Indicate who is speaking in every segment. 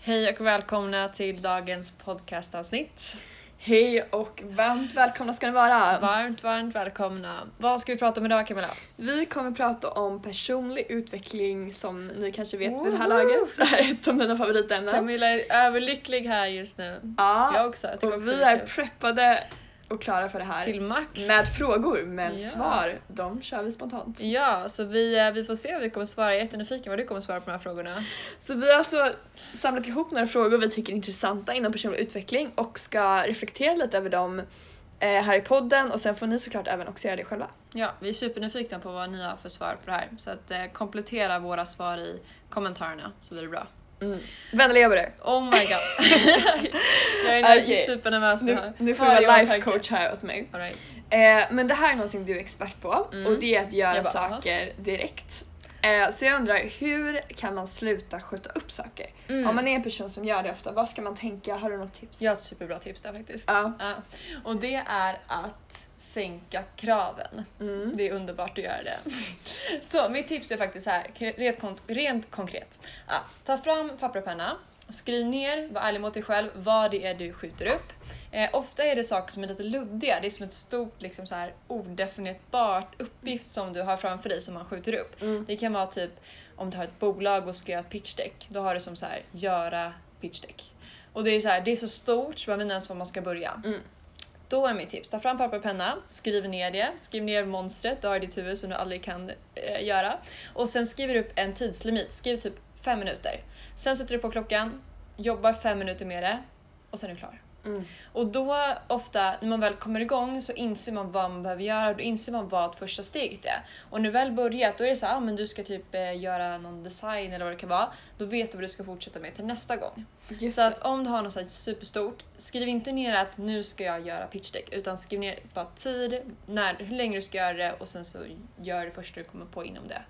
Speaker 1: Hej och välkomna till dagens podcastavsnitt.
Speaker 2: Hej och varmt välkomna ska ni vara!
Speaker 1: Varmt, varmt välkomna. Vad ska vi prata om idag Camilla?
Speaker 2: Vi kommer prata om personlig utveckling som ni kanske vet vid det här laget är ett av mina favoritämnen.
Speaker 1: Camilla är överlycklig här just nu. Jag
Speaker 2: Ja,
Speaker 1: också. Jag tycker
Speaker 2: Ah, och
Speaker 1: också
Speaker 2: vi
Speaker 1: det
Speaker 2: är
Speaker 1: kul.
Speaker 2: preppade och klara för det här.
Speaker 1: till max.
Speaker 2: Med frågor, men
Speaker 1: Ja.
Speaker 2: svar, de kör vi spontant.
Speaker 1: Ja, så vi, eh, vi får se vad vi kommer svara. Jag är jättenyfiken vad du kommer svara på de här frågorna.
Speaker 2: Så vi har alltså samlat ihop några frågor vi tycker är intressanta inom personlig utveckling och ska reflektera lite över dem eh, här i podden och sen får ni såklart även också göra det själva.
Speaker 1: Ja, vi är supernyfikna på vad ni har för svar på det här. Så att, eh, komplettera våra svar i kommentarerna så blir det bra.
Speaker 2: Vänliga över det.
Speaker 1: Oh my god. jag är
Speaker 2: Okej.
Speaker 1: supernervös nu här.
Speaker 2: Nu, nu får
Speaker 1: Hör
Speaker 2: du
Speaker 1: jag
Speaker 2: vara
Speaker 1: tanken?
Speaker 2: lifecoach här åt mig.
Speaker 1: All right.
Speaker 2: Eh, men det här är någonting du är expert på
Speaker 1: Mm.
Speaker 2: och det är att göra
Speaker 1: Jag bara,
Speaker 2: saker direkt. Eh, så jag undrar, hur kan man sluta skjuta upp saker?
Speaker 1: Mm.
Speaker 2: Om man är en person som gör det ofta, vad ska man tänka? Har du något tips?
Speaker 1: Jag har ett superbra tips där faktiskt.
Speaker 2: Ja.
Speaker 1: Ja. Och det är att sänka kraven.
Speaker 2: Mm.
Speaker 1: Det är underbart att göra det. Så mitt tips är faktiskt här, k- rent, kon- rent konkret. Att ta fram papper och penna, skriv ner, var ärlig mot dig själv, vad det är du skjuter upp. Eh, ofta är det saker som är lite luddiga, det är som ett stort liksom, så här, odefinierbart uppgift som du har framför dig som man skjuter upp.
Speaker 2: Mm.
Speaker 1: Det kan vara typ om du har ett bolag och ska göra ett pitchdeck. Då har du som så här, göra pitchdeck. Och det är så här, det är så stort så man vet inte ens var man ska börja.
Speaker 2: Mm.
Speaker 1: Då är mitt tips, ta fram papper och penna, skriv ner det, skriv ner monstret du har i ditt huvud som du aldrig kan eh, göra. Och sen skriver du upp en tidslimit, skriv typ fem minuter. Sen sätter du på klockan, jobbar fem minuter med det och sen är du klar.
Speaker 2: Mm.
Speaker 1: Och då ofta när man väl kommer igång så inser man vad man behöver göra och då inser man vad ett första steget är. Och när du väl börjat då är det så här, ah, men du ska typ eh, göra någon design eller vad det kan vara. Då vet du vad du ska fortsätta med till nästa gång.
Speaker 2: Just
Speaker 1: Så
Speaker 2: det.
Speaker 1: att om du har något så här superstort, skriv inte ner att nu ska jag göra pitchdeck utan skriv ner bara tid, när, hur länge du ska göra det och sen så gör det första du kommer på inom det.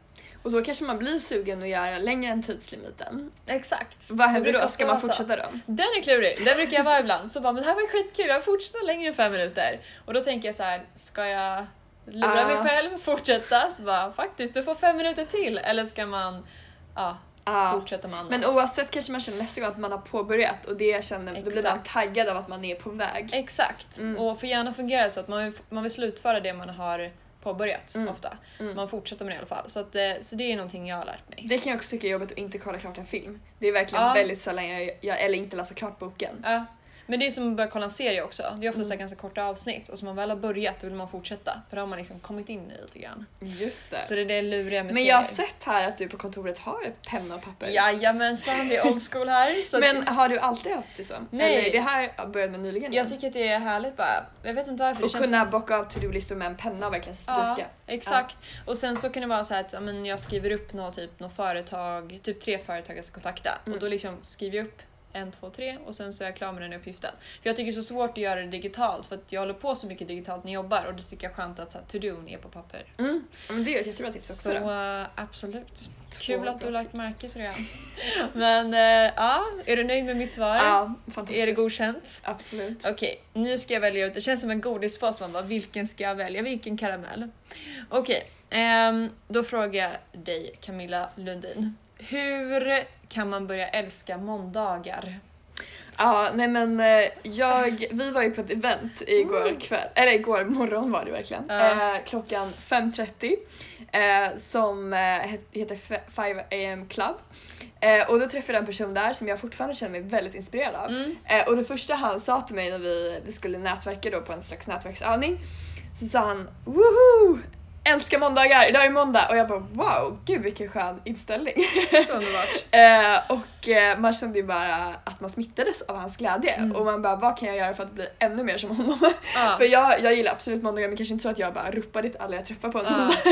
Speaker 2: Och då kanske man blir sugen att göra längre än tidslimiten.
Speaker 1: Exakt.
Speaker 2: Vad händer
Speaker 1: brukar
Speaker 2: då? Ska
Speaker 1: ofta
Speaker 2: man
Speaker 1: vara så.
Speaker 2: fortsätta då?
Speaker 1: Den är klurig, den brukar jag vara ibland. Så bara, men det här var ju skitkul, jag fortsätter längre än fem minuter. Och då tänker jag så här, ska jag lura
Speaker 2: Ah.
Speaker 1: mig själv, fortsätta? Så bara, faktiskt, du får fem minuter till. Eller ska man ja,
Speaker 2: Ja.
Speaker 1: fortsätta med annat?
Speaker 2: Men oavsett kanske man känner nästa gång att man har påbörjat och det känner, då blir man
Speaker 1: Exakt.
Speaker 2: taggad av att man är på väg.
Speaker 1: Exakt,
Speaker 2: Mm.
Speaker 1: och för hjärnan fungerar det så att man vill, man vill slutföra det man har påbörjat
Speaker 2: Mm.
Speaker 1: ofta.
Speaker 2: Mm.
Speaker 1: Man fortsätter med det i alla fall. Så, att, eh, så det är någonting jag har lärt mig.
Speaker 2: Det kan jag också tycka är jobbigt att inte kolla klart en film. Det är verkligen
Speaker 1: Ja.
Speaker 2: väldigt sällan jag, jag, eller inte läsa klart boken.
Speaker 1: Ja. Men det är som att börja kolla en serie också. Det är ofta så här
Speaker 2: Mm.
Speaker 1: ganska korta avsnitt och som man väl har börjat då vill man fortsätta för då har man liksom kommit in i det lite grann.
Speaker 2: Just det.
Speaker 1: Så det är det luriga med
Speaker 2: Men jag har sett här att du på kontoret har penna och papper.
Speaker 1: Jajamensan, det är old school här. Så att-
Speaker 2: Men har du alltid haft det så?
Speaker 1: Nej.
Speaker 2: Eller det här började med nyligen?
Speaker 1: jag tycker att det är härligt bara. Jag vet inte varför.
Speaker 2: och
Speaker 1: det känns
Speaker 2: kunna bocka av to-do-listor med en penna och verkligen
Speaker 1: Ja,
Speaker 2: stryka.
Speaker 1: exakt. Och sen så kan det vara så här att ja, men jag skriver upp något, typ, något företag, typ tre företag jag ska kontakta och
Speaker 2: Mm.
Speaker 1: då liksom skriver jag upp en, två, tre och sen så är jag klar med den uppgiften. För jag tycker det är så svårt att göra det digitalt för att jag håller på så mycket digitalt när jag jobbar och då tycker jag är skönt att så här, to-do'n är på papper.
Speaker 2: Mm. Men det är ett jättebra tips också.
Speaker 1: Så
Speaker 2: då.
Speaker 1: eh, absolut.
Speaker 2: Två
Speaker 1: Kul att du
Speaker 2: bra
Speaker 1: har lagt
Speaker 2: tips.
Speaker 1: märke till det. Men eh, ja, är du nöjd med mitt svar?
Speaker 2: Ja, fantastiskt.
Speaker 1: Är det godkänt?
Speaker 2: Absolut.
Speaker 1: Okej, nu ska jag välja ut. Det känns som en godispåse. Man bara, vilken ska jag välja? Vilken karamell? Okej, ehm, då frågar jag dig Camilla Lundin. Hur kan man börja älska måndagar?
Speaker 2: Ja, nej men eh, jag, vi var ju på ett event igår kväll, eller igår morgon var det verkligen,
Speaker 1: Ja.
Speaker 2: eh, klockan 5.30 eh, som eh, het- heter Fe- 5am club. Eh, och då träffade jag en person där som jag fortfarande känner mig väldigt inspirerad av.
Speaker 1: Mm.
Speaker 2: Eh, och det första han sa till mig när vi, vi skulle nätverka då på en slags nätverksövning så sa han “Woohoo! Älskar måndagar, idag är det måndag” och jag bara “Wow, gud vilken skön inställning”.
Speaker 1: Så underbart.
Speaker 2: Eh, och eh, man kände ju bara att man smittades av hans glädje
Speaker 1: Mm.
Speaker 2: och man bara vad kan jag göra för att bli ännu mer som honom?
Speaker 1: Ja.
Speaker 2: för jag, jag gillar absolut måndagar men kanske inte så att jag bara ropar dit alla jag träffar på en
Speaker 1: Ja.
Speaker 2: måndag.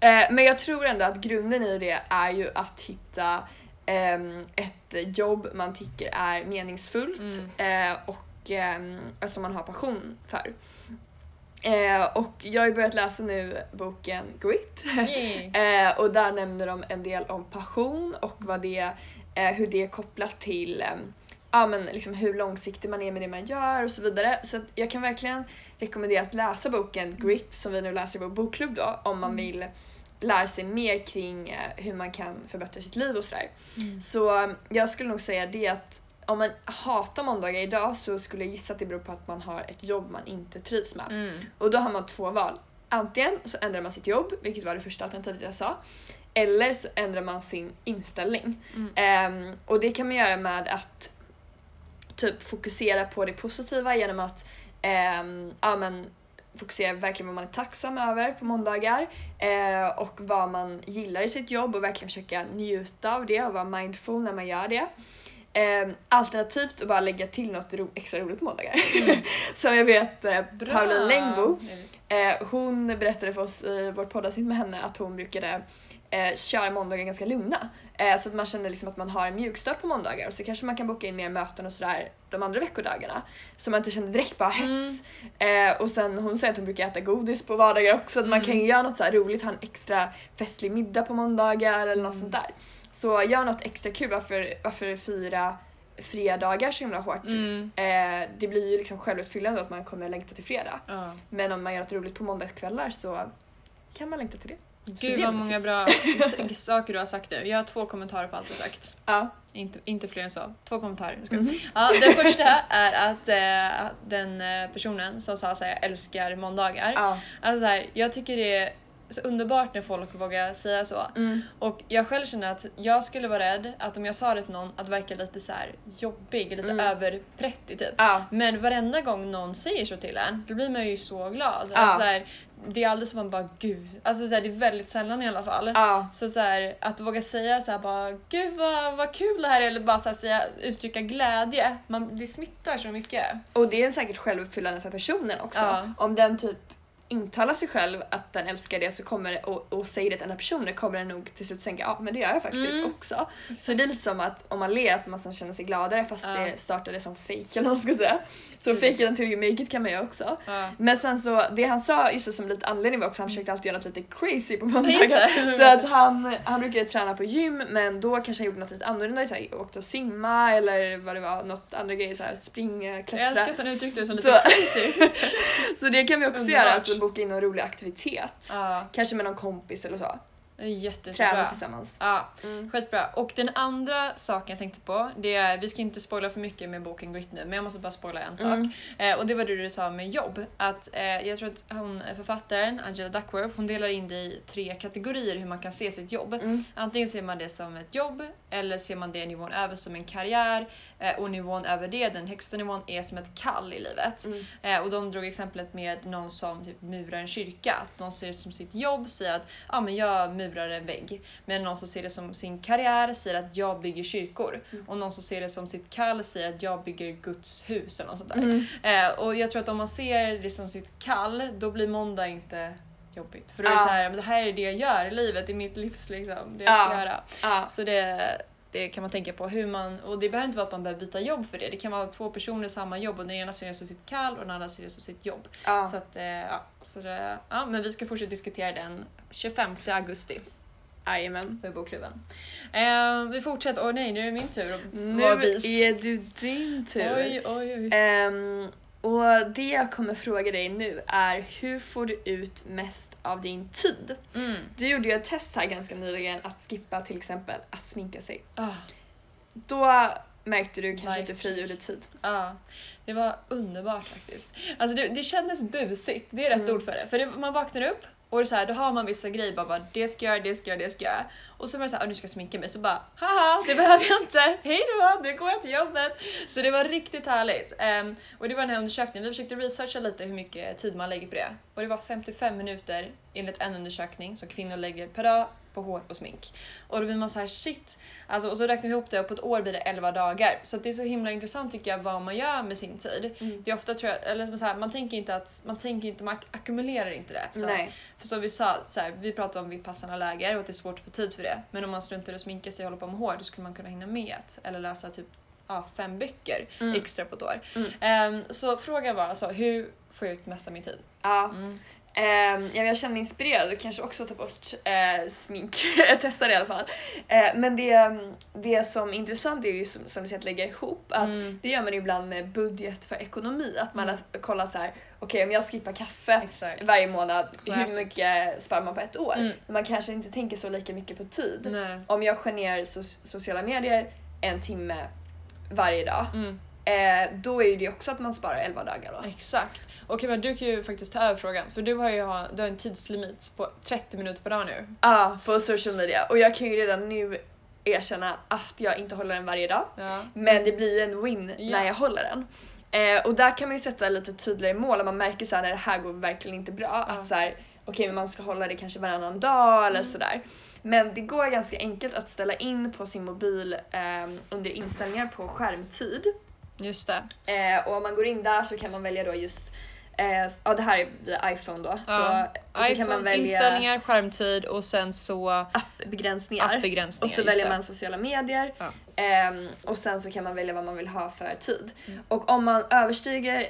Speaker 2: Eh, men jag tror ändå att grunden i det är ju att hitta ehm, ett jobb man tycker är meningsfullt
Speaker 1: Mm.
Speaker 2: eh, och ehm, alltså som man har passion för. Eh, och jag har ju börjat läsa nu boken Grit
Speaker 1: Yay.
Speaker 2: Eh, och där nämner de en del om passion och vad det, eh, hur det är kopplat till eh, ja, men liksom hur långsiktig man är med det man gör och så vidare. Så att jag
Speaker 1: Mm.
Speaker 2: kan verkligen rekommendera att läsa boken Grit som vi nu läser i vår bokklubb då om man vill lär sig mer kring eh, hur man kan förbättra sitt liv och sådär.
Speaker 1: Mm.
Speaker 2: Så eh, jag skulle nog säga det att om man hatar måndagar idag så skulle jag gissa att det beror på att man har ett jobb man inte trivs med.
Speaker 1: Mm.
Speaker 2: Och då har man två val. Antingen så ändrar man sitt jobb, vilket var det första alternativet jag sa. Eller så ändrar man sin inställning.
Speaker 1: Mm.
Speaker 2: Ehm, och det kan man göra med att typ fokusera på det positiva genom att ehm, ja, men, fokusera verkligen vad man är tacksam över på måndagar eh, och vad man gillar i sitt jobb och verkligen försöka njuta av det och vara mindful när man gör det. Ehm, alternativt att bara lägga till något ro- extra roligt på måndagar. Som jag vet eh,
Speaker 1: Mm. Bra.
Speaker 2: Paula Längbo
Speaker 1: Mm.
Speaker 2: Eh, hon berättade för oss i vårt poddavsnitt med henne att hon brukade eh, köra måndagar ganska lugna. Eh, så att man känner liksom att man har en mjukstart på måndagar och så kanske man kan boka in mer möten och sådär de andra veckodagarna. Så man inte känner direkt bara hets. Eh, och sen hon säger att hon brukar äta godis på vardagar också. Att man
Speaker 1: Mm.
Speaker 2: kan göra något så här roligt, ha en extra festlig middag på måndagar eller något sånt
Speaker 1: Mm.
Speaker 2: där. Så gör något extra kul. Varför, varför fira fredagar så himla hårt?
Speaker 1: Mm.
Speaker 2: Eh, det blir ju liksom självuppfyllande att man kommer längta till fredag.
Speaker 1: Ja.
Speaker 2: Men om man gör något roligt på måndagskvällar så kan man längta till det. Så det är
Speaker 1: Gud vad
Speaker 2: mitt
Speaker 1: många
Speaker 2: tips.
Speaker 1: bra s- saker du har sagt nu. Jag har två kommentarer på allt du har sagt.
Speaker 2: Ja.
Speaker 1: Inte, inte fler än så. Två kommentarer. Jag skojar.
Speaker 2: Mhm.
Speaker 1: Ja, den första är att eh, den eh, personen som sa att jag älskar måndagar.
Speaker 2: ja.
Speaker 1: Alltså så här, jag tycker det är så underbart när folk vågar säga så.
Speaker 2: Mm.
Speaker 1: Och jag själv känner att jag skulle vara rädd att om jag sa det till någon att verka lite så här jobbig, lite
Speaker 2: Mm.
Speaker 1: överprättig typ.
Speaker 2: ja.
Speaker 1: Men varenda gång någon säger så till en, då blir man ju så glad.
Speaker 2: Ja.
Speaker 1: Alltså, så här, det är aldrig som man bara gud, alltså så här, det är väldigt sällan i alla fall.
Speaker 2: ja.
Speaker 1: Så, så här, att våga säga så här bara gud vad, vad kul det här är eller bara så här, säga, uttrycka glädje. Man, det smittar så mycket.
Speaker 2: Och det är säkert självuppfyllande för personen också.
Speaker 1: Ja.
Speaker 2: Om den typ intalar sig själv att den älskar det så kommer det- och, och säger det till andra personer kommer den nog till slut tänka ja men det gör jag faktiskt
Speaker 1: Mm.
Speaker 2: också. Så det är lite som att om man ler att man sen känner sig gladare fast
Speaker 1: Ja.
Speaker 2: det startade som fake eller vad man ska säga. Så
Speaker 1: Precis.
Speaker 2: fake den till you make it kan man göra också.
Speaker 1: Ja.
Speaker 2: Men sen så, det han sa just som lite anledning var också han försökte alltid göra något lite crazy på
Speaker 1: Mm. Just
Speaker 2: måndagar.
Speaker 1: det.
Speaker 2: Så att han, han brukade träna på gym men då kanske han gjorde något lite annorlunda, så här, åkte och simma eller vad det var, något andra grejer så här, springa,
Speaker 1: Jag älskar
Speaker 2: klättra.
Speaker 1: att han uttryckte det som lite
Speaker 2: Så,
Speaker 1: crazy.
Speaker 2: så det kan vi också
Speaker 1: Underbart.
Speaker 2: göra, alltså boka in någon rolig aktivitet.
Speaker 1: Ja,
Speaker 2: Kanske med någon kompis eller så.
Speaker 1: det är jättebra.
Speaker 2: Träna tillsammans.
Speaker 1: Ja,
Speaker 2: Mm.
Speaker 1: skitbra. Och den andra saken jag tänkte på, det är, vi ska inte spoila för mycket med boken Grit nu, men jag måste bara spoila en sak.
Speaker 2: Mm.
Speaker 1: Eh, och det var det du sa med jobb. Att, eh, jag tror att hon, författaren Angela Duckworth, hon delar in det i tre kategorier hur man kan se sitt jobb.
Speaker 2: Mm.
Speaker 1: Antingen ser man det som ett jobb, eller ser man det nivån över som en karriär eh, och nivån över det, den högsta nivån, är som ett kall i livet.
Speaker 2: Mm.
Speaker 1: Eh, och de drog exemplet med någon som typ murar en kyrka. Att någon ser det som sitt jobb, säger att ah, men jag murar en vägg. Men någon som ser det som sin karriär säger att jag bygger kyrkor. Och någon som ser det som sitt kall säger att jag bygger Guds hus eller något sånt där.
Speaker 2: Mm.
Speaker 1: Eh, och jag tror att om man ser det som sitt kall, då blir måndag inte jobbigt. För då är det
Speaker 2: Ja.
Speaker 1: så här, men det här är det jag gör i livet, det är mitt livs liksom, det jag ska
Speaker 2: Ja.
Speaker 1: göra.
Speaker 2: Ja.
Speaker 1: Så det, det kan man tänka på hur man, och det behöver inte vara att man behöver byta jobb för det. Det kan vara två personer samma jobb och den ena ser det som sitt kall och den andra ser det som sitt jobb.
Speaker 2: Ja.
Speaker 1: Så att, eh, ja, så det, ja, men vi ska fortsätta diskutera den 25 augusti
Speaker 2: Jajamän.
Speaker 1: för Bokklubben. Eh, vi fortsätter, åh nej nu är det min tur att
Speaker 2: Nu
Speaker 1: vara vis.
Speaker 2: är du din tur.
Speaker 1: Oj, oj, oj.
Speaker 2: Ehm, och det jag kommer fråga dig nu är hur får du ut mest av din tid?
Speaker 1: Mm.
Speaker 2: Du gjorde ju ett test här ganska nyligen att skippa till exempel att sminka sig.
Speaker 1: Ah.
Speaker 2: Då märkte du kanske att du
Speaker 1: Life
Speaker 2: frigjorde tid.
Speaker 1: Ja, det var underbart faktiskt. Alltså det, det kändes busigt, det är rätt
Speaker 2: Mm.
Speaker 1: ord för det. För det, man vaknar upp och det är så här, då har man vissa grejer, bara, bara det ska jag göra, det ska jag göra, det ska jag göra. Och så var det såhär, nu ska jag sminka mig, så bara haha, det behöver jag inte, hej då, nu går jag till jobbet. Så det var riktigt härligt. Ehm, och det var den här undersökningen, vi försökte researcha lite hur mycket tid man lägger på det. Och det var 55 minuter enligt en undersökning som kvinnor lägger per dag på hår och smink. Och då blir man så här shit. Alltså, och så räknar vi ihop det och på ett år blir det 11 dagar. Så att det är så himla intressant tycker jag vad man gör med sin tid.
Speaker 2: Mm.
Speaker 1: Det är ofta tror jag, eller så här, man tänker inte att, man tänker inte, man ak- ackumulerar inte det. Så här.
Speaker 2: Nej.
Speaker 1: För som vi sa, så här, vi pratade om vipassana läger och att det är svårt att få tid för det. Men om man struntar i att sminka sig och håller på med hår då skulle man kunna hinna med att, eller läsa typ ja, fem böcker
Speaker 2: Mm.
Speaker 1: extra på ett år.
Speaker 2: Mm.
Speaker 1: Ehm, så frågan var alltså, hur får jag ut mesta min tid?
Speaker 2: Ja.
Speaker 1: Mm.
Speaker 2: Ehm, ja, men jag känner mig inspirerad och kanske också ta bort eh, smink. jag testar i alla fall. Eh, men det, det som är intressant är ju som, som du säger att lägga ihop. Att
Speaker 1: Mm.
Speaker 2: Det gör man ibland med budget för ekonomi. Att man
Speaker 1: Mm.
Speaker 2: lä- kollar så här, okej om jag skippar kaffe
Speaker 1: Exakt.
Speaker 2: varje månad,
Speaker 1: Classic.
Speaker 2: hur mycket sparar man på ett år?
Speaker 1: Mm.
Speaker 2: Man kanske inte tänker så lika mycket på tid.
Speaker 1: Nej.
Speaker 2: Om jag skär ner so- sociala medier en timme varje dag,
Speaker 1: Mm,
Speaker 2: eh, då är ju det också att man sparar 11 dagar då.
Speaker 1: exakt. Och Ebba, du kan ju faktiskt ta över frågan för du har ju ha, du har en tidslimit på 30 minuter per dag nu.
Speaker 2: Ja, Ah, på social media. Och jag kan ju redan nu erkänna att jag inte håller den varje dag.
Speaker 1: Ja.
Speaker 2: Men det blir ju en win
Speaker 1: Mm. Ja.
Speaker 2: när jag håller den. Eh, och där kan man ju sätta lite tydligare mål om man märker såhär när det här går verkligen inte bra.
Speaker 1: Ja. Mm.
Speaker 2: Att såhär, okej men man ska hålla det kanske varannan dag eller sådär. Men det går ganska enkelt att ställa in på sin mobil eh, under inställningar på skärmtid.
Speaker 1: Just det.
Speaker 2: Eh, och om man går in där så kan man välja då just, eh, ja det här är via iPhone då.
Speaker 1: Ja.
Speaker 2: Så, och så kan man
Speaker 1: iPhone,
Speaker 2: välja
Speaker 1: inställningar, skärmtid och sen så
Speaker 2: appbegränsningar.
Speaker 1: appbegränsningar.
Speaker 2: Och så
Speaker 1: just
Speaker 2: väljer
Speaker 1: det.
Speaker 2: man sociala medier
Speaker 1: Ja.
Speaker 2: ehm, och sen så kan man välja vad man vill ha för tid.
Speaker 1: Mm.
Speaker 2: Och om man överstiger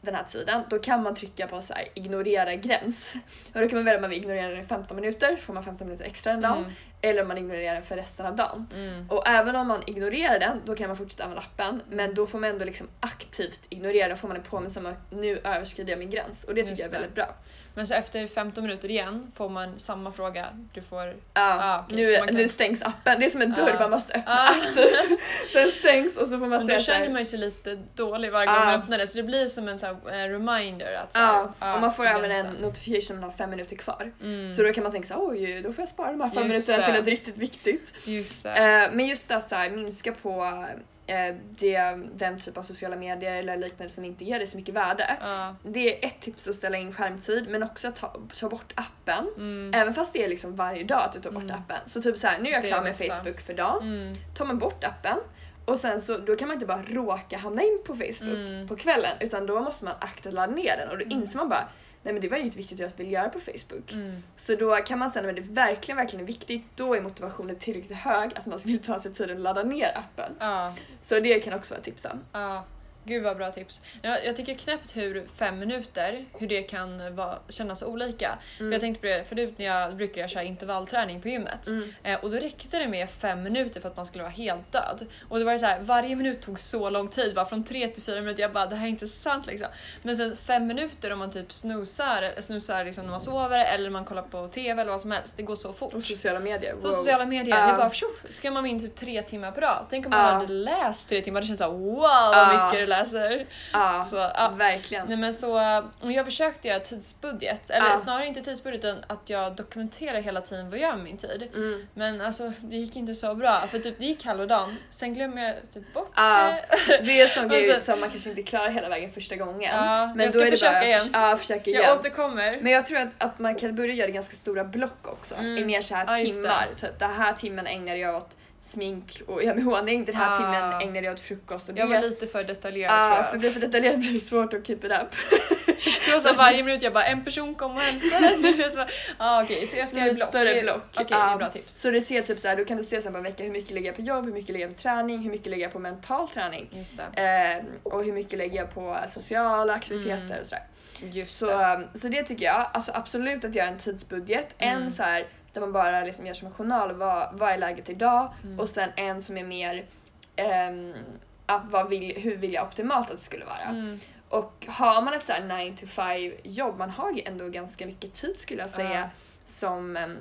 Speaker 2: den här tiden då kan man trycka på så här, ignorera gräns. Och då kan man välja om man vill ignorera den i 15 minuter, får man 15 minuter extra en dag.
Speaker 1: Mm.
Speaker 2: Eller om man ignorerar den för resten av dagen.
Speaker 1: Mm.
Speaker 2: Och även om man ignorerar den då kan man fortsätta använda appen men då får man ändå liksom aktivt ignorera, då får man en påminnelse om att nu överskrider jag min gräns och det tycker
Speaker 1: Just
Speaker 2: jag är
Speaker 1: det.
Speaker 2: väldigt bra.
Speaker 1: Men så efter 15 minuter igen får man samma fråga. Du får...
Speaker 2: Ja,
Speaker 1: Ah, okej, så
Speaker 2: nu,
Speaker 1: man kan-
Speaker 2: nu stängs appen, det är som en dörr
Speaker 1: Ja.
Speaker 2: man måste öppna
Speaker 1: Ah.
Speaker 2: aktivt. Den stängs och så får man
Speaker 1: Men
Speaker 2: säga
Speaker 1: då
Speaker 2: så här-
Speaker 1: känner man ju sig lite dålig varje gång man
Speaker 2: Ja.
Speaker 1: öppnar det så det blir som en så här, eh, reminder att så här,
Speaker 2: Ja, Ah. och man får även en
Speaker 1: begränsa.
Speaker 2: notification om man har fem minuter kvar.
Speaker 1: Mm,
Speaker 2: Så då kan man tänka så här, oj, då får jag spara de här fem
Speaker 1: Just
Speaker 2: minuterna
Speaker 1: det.
Speaker 2: till något riktigt viktigt.
Speaker 1: just det.
Speaker 2: Eh, men just att så här, minska på eh, det, den typ av sociala medier eller liknande som inte ger dig så mycket värde.
Speaker 1: Ja,
Speaker 2: Det är ett tips att ställa in skärmtid men också att ta, ta bort appen.
Speaker 1: mm,
Speaker 2: Även fast det är liksom varje dag att du tar bort
Speaker 1: Mm.
Speaker 2: appen. Så typ så här, nu är jag
Speaker 1: Det är
Speaker 2: klar med
Speaker 1: bästa.
Speaker 2: Facebook för dagen.
Speaker 1: mm,
Speaker 2: Tar man bort appen och sen så då kan man inte bara råka hamna in på Facebook
Speaker 1: mm.
Speaker 2: på kvällen utan då måste man aktivt ladda ner den och då
Speaker 1: Mm.
Speaker 2: inser man bara nej men det var ju inte viktigt jag ville göra på Facebook.
Speaker 1: Mm.
Speaker 2: Så då kan man säga när det verkligen, verkligen är viktigt då är motivationen tillräckligt hög att man vill ta sig tiden att ladda ner appen.
Speaker 1: Ja,
Speaker 2: Så det kan också vara ett tips då.
Speaker 1: ja. Gud vad bra tips. Jag, jag tycker knäppt hur fem minuter, hur det kan vara, kännas olika. För jag tänkte på det förut när jag brukade jag köra intervallträning på gymmet.
Speaker 2: Mm.
Speaker 1: Eh, och då räckte det med fem minuter för att man skulle vara helt död. Och det var ju så här, varje minut tog så lång tid, bara från tre till fyra minuter. Jag bara, det här är inte sant liksom. Men sen fem minuter om man typ snoozar, snoozar liksom när man sover eller man kollar på TV eller vad som helst, det går så fort.
Speaker 2: Och sociala medier.
Speaker 1: På sociala medier,
Speaker 2: Ja.
Speaker 1: det är bara tjoff, ska man vara in typ tre timmar per dag. Tänk om man
Speaker 2: Um. Ja.
Speaker 1: hade läst tre timmar, det känns såhär wow vad
Speaker 2: Ja.
Speaker 1: mycket du läser.
Speaker 2: Ja,
Speaker 1: Så, ja.
Speaker 2: verkligen.
Speaker 1: Nej, men så, eh, och jag försökte göra tidsbudget, eller
Speaker 2: Ja.
Speaker 1: snarare inte tidsbudget utan att jag dokumenterar hela tiden vad jag gör med min tid.
Speaker 2: Mm.
Speaker 1: Men alltså det gick inte så bra för typ, det gick halva dagen, sen glömmer jag typ bort
Speaker 2: Ja.
Speaker 1: det.
Speaker 2: Det är en sån grej
Speaker 1: Alltså-
Speaker 2: som man kanske inte klarar hela vägen första gången.
Speaker 1: Ja,
Speaker 2: men
Speaker 1: jag ska
Speaker 2: då är det
Speaker 1: försöka
Speaker 2: bara,
Speaker 1: igen.
Speaker 2: Ja, försök igen.
Speaker 1: Jag återkommer.
Speaker 2: Men jag tror att, att man kan börja göra ganska stora block också.
Speaker 1: Mm.
Speaker 2: I mer så här
Speaker 1: Ja, just
Speaker 2: timmar. Typ, den här timmen ägnar jag åt smink och göra mig i ordning. Den här
Speaker 1: Ah.
Speaker 2: timmen ägnar jag åt frukost och det.
Speaker 1: Jag var lite för detaljerad
Speaker 2: ah, för
Speaker 1: tror
Speaker 2: blir
Speaker 1: jag.
Speaker 2: för detaljerat blir det svårt att keep it up.
Speaker 1: Det var så här, varje minut jag bara en person kom och hälsade. Du vet, bara, ah, okej, så jag ska göra
Speaker 2: Lite
Speaker 1: block.
Speaker 2: större
Speaker 1: Det är-
Speaker 2: block.
Speaker 1: Okej, det är
Speaker 2: Ja.
Speaker 1: bra tips.
Speaker 2: Så du ser typ så här, då kan du se sen på en vecka hur mycket lägger jag på jobb, hur mycket lägger jag på träning, hur mycket lägger jag på mental träning.
Speaker 1: Just det.
Speaker 2: Eh, och hur mycket lägger jag på sociala aktiviteter
Speaker 1: Mm.
Speaker 2: och sådär.
Speaker 1: Just
Speaker 2: så, ehm,
Speaker 1: det.
Speaker 2: så det tycker jag, alltså absolut att göra en tidsbudget.
Speaker 1: Mm.
Speaker 2: En så här där man bara liksom gör som en journal, vad, vad är läget idag?
Speaker 1: Mm.
Speaker 2: Och sen en som är mer ehm, ja, vad vill, hur vill jag optimalt att det skulle vara.
Speaker 1: Mm.
Speaker 2: Och har man ett så här 9 to 5 jobb, man har ju ändå ganska mycket tid skulle jag säga
Speaker 1: Ja.
Speaker 2: som, ehm,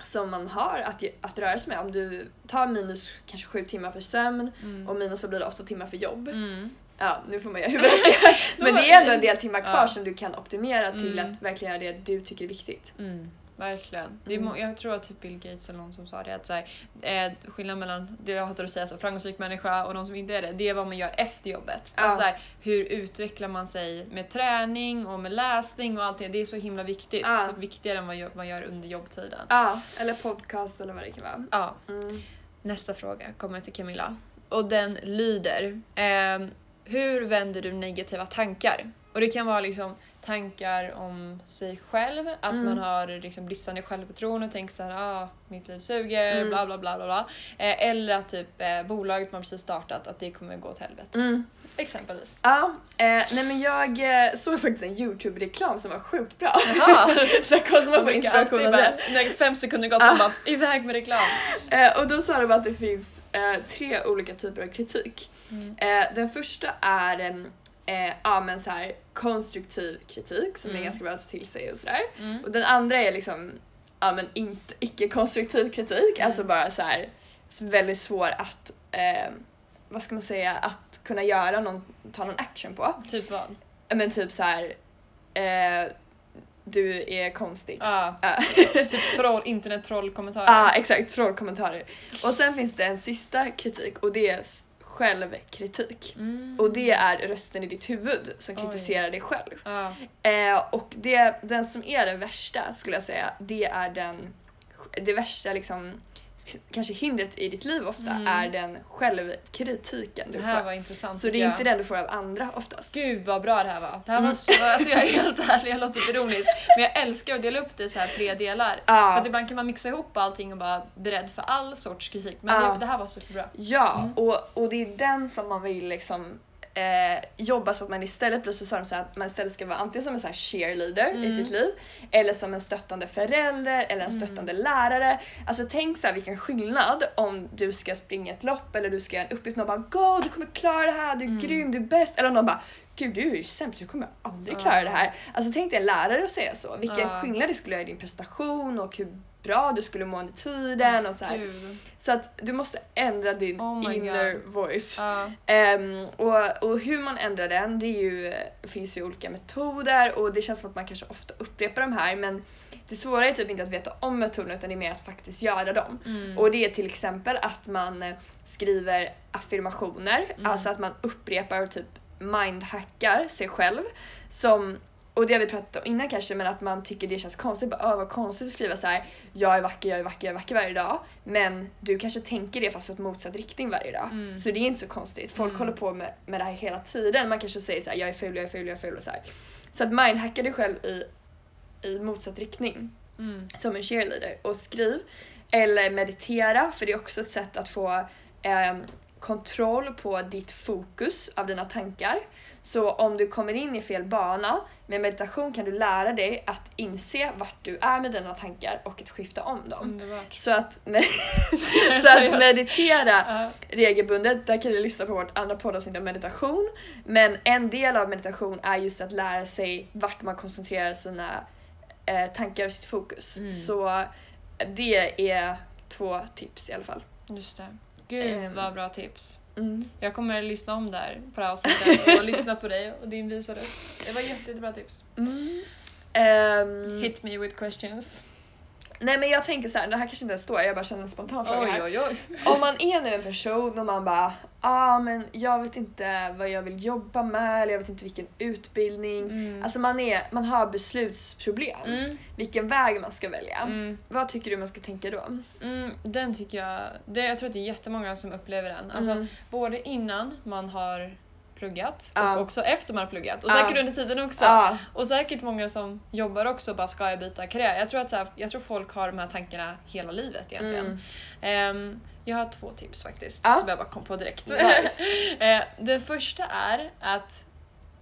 Speaker 2: som man har att, ge- att röra sig med. Om du tar minus kanske 7 timmar för sömn
Speaker 1: Mm.
Speaker 2: och minus så blir det 8 timmar för jobb.
Speaker 1: Mm.
Speaker 2: Ja, nu får man göra huvudräkningen. Men det är ändå en del timmar kvar
Speaker 1: Ja.
Speaker 2: som du kan optimera till
Speaker 1: Mm.
Speaker 2: att verkligen göra det du tycker är viktigt.
Speaker 1: Mm, verkligen. Det är,
Speaker 2: Mm.
Speaker 1: må- Jag tror att typ Bill Gates eller någon som sa det att så här, eh, skillnaden mellan, det jag hatar att säga så, framgångsrik människa och de som inte är det, det är vad man gör efter jobbet.
Speaker 2: Ja.
Speaker 1: Alltså så här, hur utvecklar man sig med träning och med läsning och allt det, det är så himla viktigt.
Speaker 2: Ja.
Speaker 1: Typ viktigare än vad gör- man gör under jobbtiden.
Speaker 2: Ja, eller podcast eller vad det kan vara.
Speaker 1: Ja.
Speaker 2: Mm.
Speaker 1: Nästa fråga kommer till Camilla och den lyder, ehm, hur vänder du negativa tankar? Och det kan vara liksom tankar om sig själv, att
Speaker 2: Mm.
Speaker 1: man har liksom bristande självförtroende och tänker såhär ah, mitt liv suger,
Speaker 2: Mm.
Speaker 1: bla bla bla bla bla. Eh, eller att typ eh, bolaget man precis startat, att det kommer gå åt helvete.
Speaker 2: Mm.
Speaker 1: Exempelvis.
Speaker 2: Ja, eh, nej men jag eh, såg faktiskt en Youtube-reklam som var sjukt bra.
Speaker 1: Jaha!
Speaker 2: så jag kollade så man får
Speaker 1: Brukar
Speaker 2: inspiration
Speaker 1: alltid
Speaker 2: av
Speaker 1: bara,
Speaker 2: det.
Speaker 1: när fem sekunder gått,
Speaker 2: Ah.
Speaker 1: man bara iväg med reklam.
Speaker 2: Eh, och då sa de att det finns eh, tre olika typer av kritik.
Speaker 1: Mm.
Speaker 2: Eh, den första är em, eh, ja, men så här, konstruktiv kritik som
Speaker 1: Mm.
Speaker 2: är ganska bra att ta till sig och sådär.
Speaker 1: Mm.
Speaker 2: Och den andra är liksom ja, men inte, icke-konstruktiv kritik,
Speaker 1: Mm.
Speaker 2: alltså bara så här s- väldigt svår att, eh, vad ska man säga, att kunna göra någon, ta någon action på.
Speaker 1: Typ vad?
Speaker 2: Ja, Men typ så här, eh, du är konstig.
Speaker 1: Ja,
Speaker 2: Ja.
Speaker 1: Ah. typ troll, internet-trollkommentarer.
Speaker 2: Ja, exakt, trollkommentarer. Och sen finns det en sista kritik och det är s- självkritik.
Speaker 1: Mm.
Speaker 2: Och det är rösten i ditt huvud som
Speaker 1: Oj.
Speaker 2: kritiserar dig själv.
Speaker 1: Ja.
Speaker 2: Eh, och det, den som är den värsta skulle jag säga, det är den det värsta liksom kanske hindret i ditt liv ofta
Speaker 1: Mm.
Speaker 2: är den självkritiken du
Speaker 1: Det här
Speaker 2: får.
Speaker 1: var intressant
Speaker 2: Så det
Speaker 1: tycker
Speaker 2: är
Speaker 1: jag.
Speaker 2: inte den du får av andra oftast.
Speaker 1: Gud vad bra det här var. Det här var
Speaker 2: Mm.
Speaker 1: så, alltså jag är helt ärlig, jag låter ironisk. Men jag älskar att dela upp det i så här tre delar. För
Speaker 2: Ja,
Speaker 1: att ibland kan man mixa ihop allting och bara bli rädd för all sorts kritik. Men
Speaker 2: Ja.
Speaker 1: det, det här var superbra.
Speaker 2: ja
Speaker 1: Mm.
Speaker 2: och, och det är den som man vill liksom eh, jobba så att man istället blir så sa de så här, att man istället ska vara antingen som en så här cheerleader i
Speaker 1: Mm.
Speaker 2: sitt liv eller som en stöttande förälder eller en
Speaker 1: Mm.
Speaker 2: stöttande lärare. Alltså tänk så här vilken skillnad om du ska springa ett lopp eller du ska göra en uppgift någon bara go du kommer klara det här, du är
Speaker 1: Mm.
Speaker 2: grym, du är bäst eller om någon bara Gud du är ju sämst, du kommer aldrig
Speaker 1: Ja.
Speaker 2: klara det här. Alltså tänk dig en lärare att säga så. Vilken
Speaker 1: Ja.
Speaker 2: skillnad det skulle göra i din prestation och hur bra du skulle må under tiden och så här.
Speaker 1: Gud.
Speaker 2: Så att du måste ändra din
Speaker 1: Oh my
Speaker 2: inner voice.
Speaker 1: Ja.
Speaker 2: Ehm, och, och hur man ändrar den, det är ju, finns ju olika metoder och det känns som att man kanske ofta upprepar de här men det svåra är typ inte att veta om metoderna utan det är mer att faktiskt göra dem.
Speaker 1: Mm.
Speaker 2: Och det är till exempel att man eh, skriver affirmationer,
Speaker 1: Mm.
Speaker 2: alltså att man upprepar och typ mindhackar sig själv. Som, och det har vi pratat om innan kanske, men att man tycker det känns konstigt. Bara, "Åh, vad konstigt att skriva så här. jag är vacker, jag är vacker, jag är vacker varje dag. Men du kanske tänker det fast åt motsatt riktning varje dag.
Speaker 1: Mm.
Speaker 2: Så det är inte så konstigt. Folk
Speaker 1: Mm.
Speaker 2: håller på med, med det här hela tiden. Man kanske säger så här, jag är ful, jag är ful, jag är ful och så här. Så att mindhacka dig själv i, i motsatt riktning
Speaker 1: Mm.
Speaker 2: som en cheerleader och skriv eller meditera för det är också ett sätt att få ehm, kontroll på ditt fokus av dina tankar. Så om du kommer in i fel bana med meditation kan du lära dig att inse vart du är med dina tankar och att skifta om dem.
Speaker 1: Underbart.
Speaker 2: Så att, så att meditera
Speaker 1: Ja.
Speaker 2: regelbundet, där kan du lyssna på vårt andra poddavsnitt om meditation. Men en del av meditation är just att lära sig vart man koncentrerar sina eh, tankar och sitt fokus.
Speaker 1: Mm.
Speaker 2: Så det är två tips i alla fall.
Speaker 1: Just det. Gud
Speaker 2: Ehm.
Speaker 1: vad bra tips.
Speaker 2: Mm.
Speaker 1: Jag kommer att lyssna om där på det här avsnittet och lyssna på dig och din visa röst. Det var jätte, jättebra tips.
Speaker 2: Mm. Ehm,
Speaker 1: Hit me with questions.
Speaker 2: nej men jag tänker så här, det här kanske inte ens står, jag bara känner spontant fråga här.
Speaker 1: oj, oj.
Speaker 2: Om man är nu en person och man bara ah men jag vet inte vad jag vill jobba med eller jag vet inte vilken utbildning.
Speaker 1: Mm.
Speaker 2: Alltså man, är, man har beslutsproblem.
Speaker 1: Mm.
Speaker 2: vilken väg man ska välja.
Speaker 1: Mm.
Speaker 2: Vad tycker du man ska tänka då?
Speaker 1: Mm, den tycker jag... Det, jag tror att det är jättemånga som upplever den. Alltså,
Speaker 2: Mm.
Speaker 1: Både innan man har pluggat och
Speaker 2: Ja.
Speaker 1: också efter man har pluggat. Och
Speaker 2: Ja.
Speaker 1: säkert under tiden också.
Speaker 2: Ja,
Speaker 1: Och säkert många som jobbar också bara ska jag byta karriär? Jag tror, att så här, jag tror folk har de här tankarna hela livet egentligen.
Speaker 2: mm.
Speaker 1: Ehm, jag har två tips faktiskt
Speaker 2: Ja.
Speaker 1: som jag bara kom på direkt.
Speaker 2: Nice.
Speaker 1: Eh, det första är att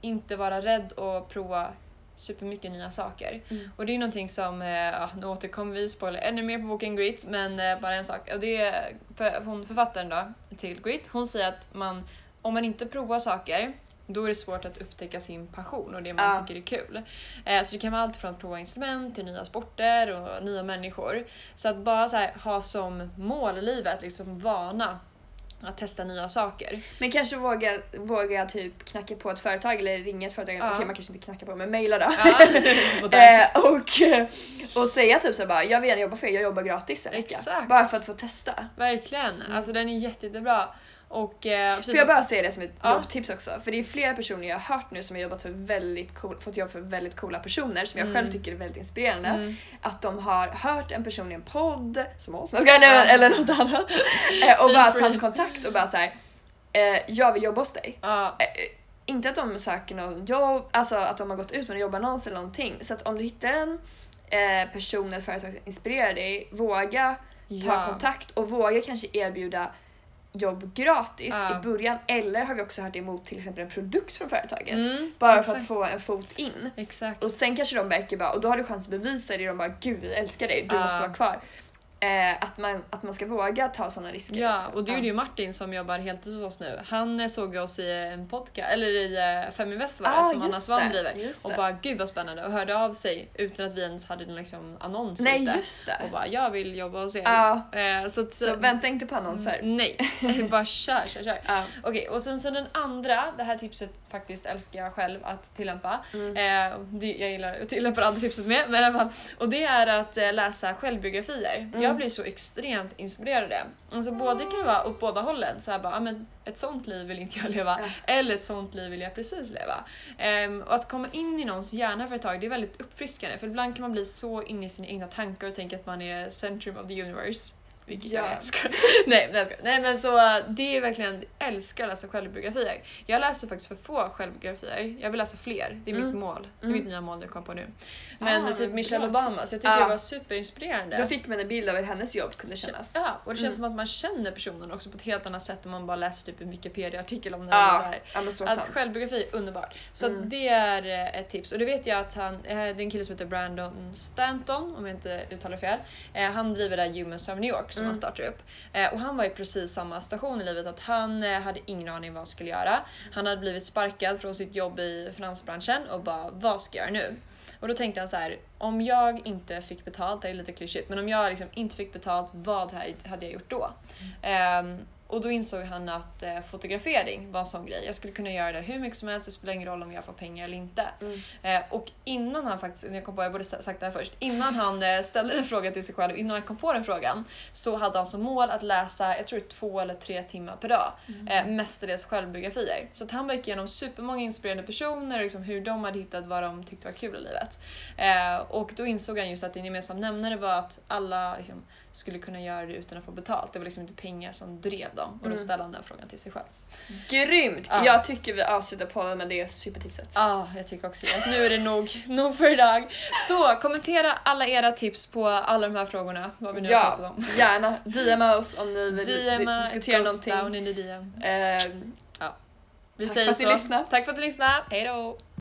Speaker 1: inte vara rädd och prova supermycket nya saker.
Speaker 2: Mm.
Speaker 1: Och det är någonting som, eh, ja, nu återkommer vi spoiler ännu mer på boken Grit, men eh, bara en sak. Och det är för, hon, författaren då, till Grit, hon säger att man, om man inte provar saker då är det svårt att upptäcka sin passion och det man
Speaker 2: Ja.
Speaker 1: tycker är kul. Eh, så det kan vara allt från att prova instrument till nya sporter och nya människor. Så att bara så här, ha som mål i livet, liksom vana att testa nya saker.
Speaker 2: Men kanske våga, våga typ knacka på ett företag eller ringa ett företag.
Speaker 1: Ja.
Speaker 2: Okej man kanske inte knackar på men mejla då.
Speaker 1: Ja. typ.
Speaker 2: Eh, och, och säga typ såhär bara jag vill gärna jobba för er, jag jobbar gratis en vecka.
Speaker 1: Exakt.
Speaker 2: Bara för att få testa.
Speaker 1: Verkligen, alltså den är jätte, jättebra. Och, eh, precis
Speaker 2: Får jag bara säga det som ett
Speaker 1: Ja.
Speaker 2: jobbtips också? För det är flera personer jag har hört nu som har jobbat för väldigt cool, fått jobb för väldigt coola personer som jag
Speaker 1: Mm.
Speaker 2: själv tycker är väldigt inspirerande.
Speaker 1: Mm.
Speaker 2: Att de har hört en person i en podd, som oss, nej, jag skojar, nej, men- eller något annat. Eh, Och
Speaker 1: Feel
Speaker 2: bara
Speaker 1: free.
Speaker 2: tagit kontakt och bara såhär, eh, jag vill jobba hos dig.
Speaker 1: Ja,
Speaker 2: Eh, eh, inte att de söker någon jobb, alltså att de har gått ut med en jobbannons eller någonting. Så att om du hittar en eh, person eller företag som inspirerar dig, våga ta
Speaker 1: Ja.
Speaker 2: kontakt och våga kanske erbjuda jobb gratis
Speaker 1: Ja.
Speaker 2: i början. Eller har vi också hört emot till exempel en produkt från företaget.
Speaker 1: Mm,
Speaker 2: Bara för
Speaker 1: exakt.
Speaker 2: att få en fot in.
Speaker 1: Exakt.
Speaker 2: Och sen kanske de märker bara, och då har du chans att bevisa det, de bara gud vi älskar dig, du
Speaker 1: Ja.
Speaker 2: måste vara kvar. Eh, att, man, att man ska våga ta sådana risker.
Speaker 1: Ja,
Speaker 2: också.
Speaker 1: och det gjorde ju Martin som jobbar heltid hos oss nu. Han eh, såg ju oss i en podcast, eller i eh, Feminvest var det,
Speaker 2: Ah,
Speaker 1: som Anna
Speaker 2: just
Speaker 1: Svan
Speaker 2: det,
Speaker 1: driver.
Speaker 2: just
Speaker 1: Och
Speaker 2: det.
Speaker 1: bara gud vad spännande och hörde av sig utan att vi ens hade någon liksom, annons
Speaker 2: Nej
Speaker 1: ute.
Speaker 2: just det.
Speaker 1: Och bara jag vill jobba hos er.
Speaker 2: Ja.
Speaker 1: Eh, så Mm. att,
Speaker 2: Så vänta inte på annonser.
Speaker 1: Nej, bara kör, kör, kör.
Speaker 2: Ja.
Speaker 1: Okej, och sen så den andra, det här tipset faktiskt älskar jag själv att tillämpa.
Speaker 2: Mm.
Speaker 1: Eh, det, jag gillar jag tillämpar andra tipset med, men i alla fall. Och det är att eh, läsa självbiografier.
Speaker 2: Mm.
Speaker 1: Jag blir så extremt inspirerad av det. Alltså både kan det vara åt båda hållen, så här bara, ah, men ett sånt liv vill inte jag leva, eller ett sånt liv vill jag precis leva. Ehm, och att komma in i någons hjärna för ett tag, det är väldigt uppfriskande för ibland kan man bli så inne i sina egna tankar och tänka att man är centrum of the universe. Vilket jag
Speaker 2: Ja.
Speaker 1: är. Skojar. Nej, nej, jag skojar. nej men så äh, det är verkligen, jag älskar att läsa självbiografier. Jag läser faktiskt för få självbiografier. Jag vill läsa fler, det är mitt
Speaker 2: Mm.
Speaker 1: mål. Det är
Speaker 2: Mm.
Speaker 1: mitt nya mål jag kom på nu. Men
Speaker 2: Ah,
Speaker 1: typ
Speaker 2: men
Speaker 1: Michelle
Speaker 2: bra
Speaker 1: Obama,
Speaker 2: tips.
Speaker 1: så jag tyckte
Speaker 2: Ah.
Speaker 1: det var superinspirerande.
Speaker 2: Då fick man en bild av hur hennes jobb kunde kännas.
Speaker 1: Ja, och det känns
Speaker 2: Mm.
Speaker 1: som att man känner personen också på ett helt annat sätt än man bara läser typ en Wikipedia-artikel om den. eller så
Speaker 2: Ja,
Speaker 1: här.
Speaker 2: ja men så
Speaker 1: Att
Speaker 2: Ah. sant.
Speaker 1: självbiografi är underbart. Så att
Speaker 2: Mm.
Speaker 1: det är eh, ett tips. Och det vet jag att han, eh, det är en kille som heter Brandon Stanton, om jag inte uttalar fel. Eh, Han driver det här Human Serve New York som
Speaker 2: Mm.
Speaker 1: han startar upp. Eh, Och han var i precis samma station i livet, att han eh, hade ingen aning vad han skulle göra. Han hade blivit sparkad från sitt jobb i finansbranschen och bara, vad ska jag göra nu? Och då tänkte han så här, om jag inte fick betalt, det är lite klyschigt, men om jag liksom inte fick betalt, vad ha- hade jag gjort då? Ehm, och då insåg han att eh, fotografering var en sån grej. Jag skulle kunna göra det hur mycket som helst, det spelar ingen roll om jag får pengar eller inte.
Speaker 2: Mm.
Speaker 1: Eh, och innan han faktiskt, när jag kom på, jag borde sa- sagt det här först, innan han eh, ställde den frågan till sig själv, innan han kom på den frågan, så hade han som mål att läsa, jag tror två eller tre timmar per dag, eh, mestadels självbiografier. Så att han gick igenom supermånga inspirerande personer, och liksom hur de hade hittat vad de tyckte var kul i livet. Eh, och då insåg han just att en gemensam nämnare var att alla liksom, skulle kunna göra det utan att få betalt. Det var liksom inte pengar som drev dem. Och då
Speaker 2: Mm.
Speaker 1: ställde han den frågan till sig själv.
Speaker 2: Grymt!
Speaker 1: Ja.
Speaker 2: Jag tycker vi avslutar podden med det supertipset.
Speaker 1: Ja, jag tycker också att nu är det nog, nog för idag. Så kommentera alla era tips på alla de här frågorna, vad vi nu har pratat
Speaker 2: Ja,
Speaker 1: om.
Speaker 2: gärna. DMa oss om ni vill
Speaker 1: DMa,
Speaker 2: diskutera
Speaker 1: goes
Speaker 2: någonting.
Speaker 1: down in the DM.
Speaker 2: Ehm,
Speaker 1: Vi
Speaker 2: Tack
Speaker 1: säger
Speaker 2: för att ni
Speaker 1: så.
Speaker 2: lyssnade.
Speaker 1: Tack för att ni lyssnade. Hej då!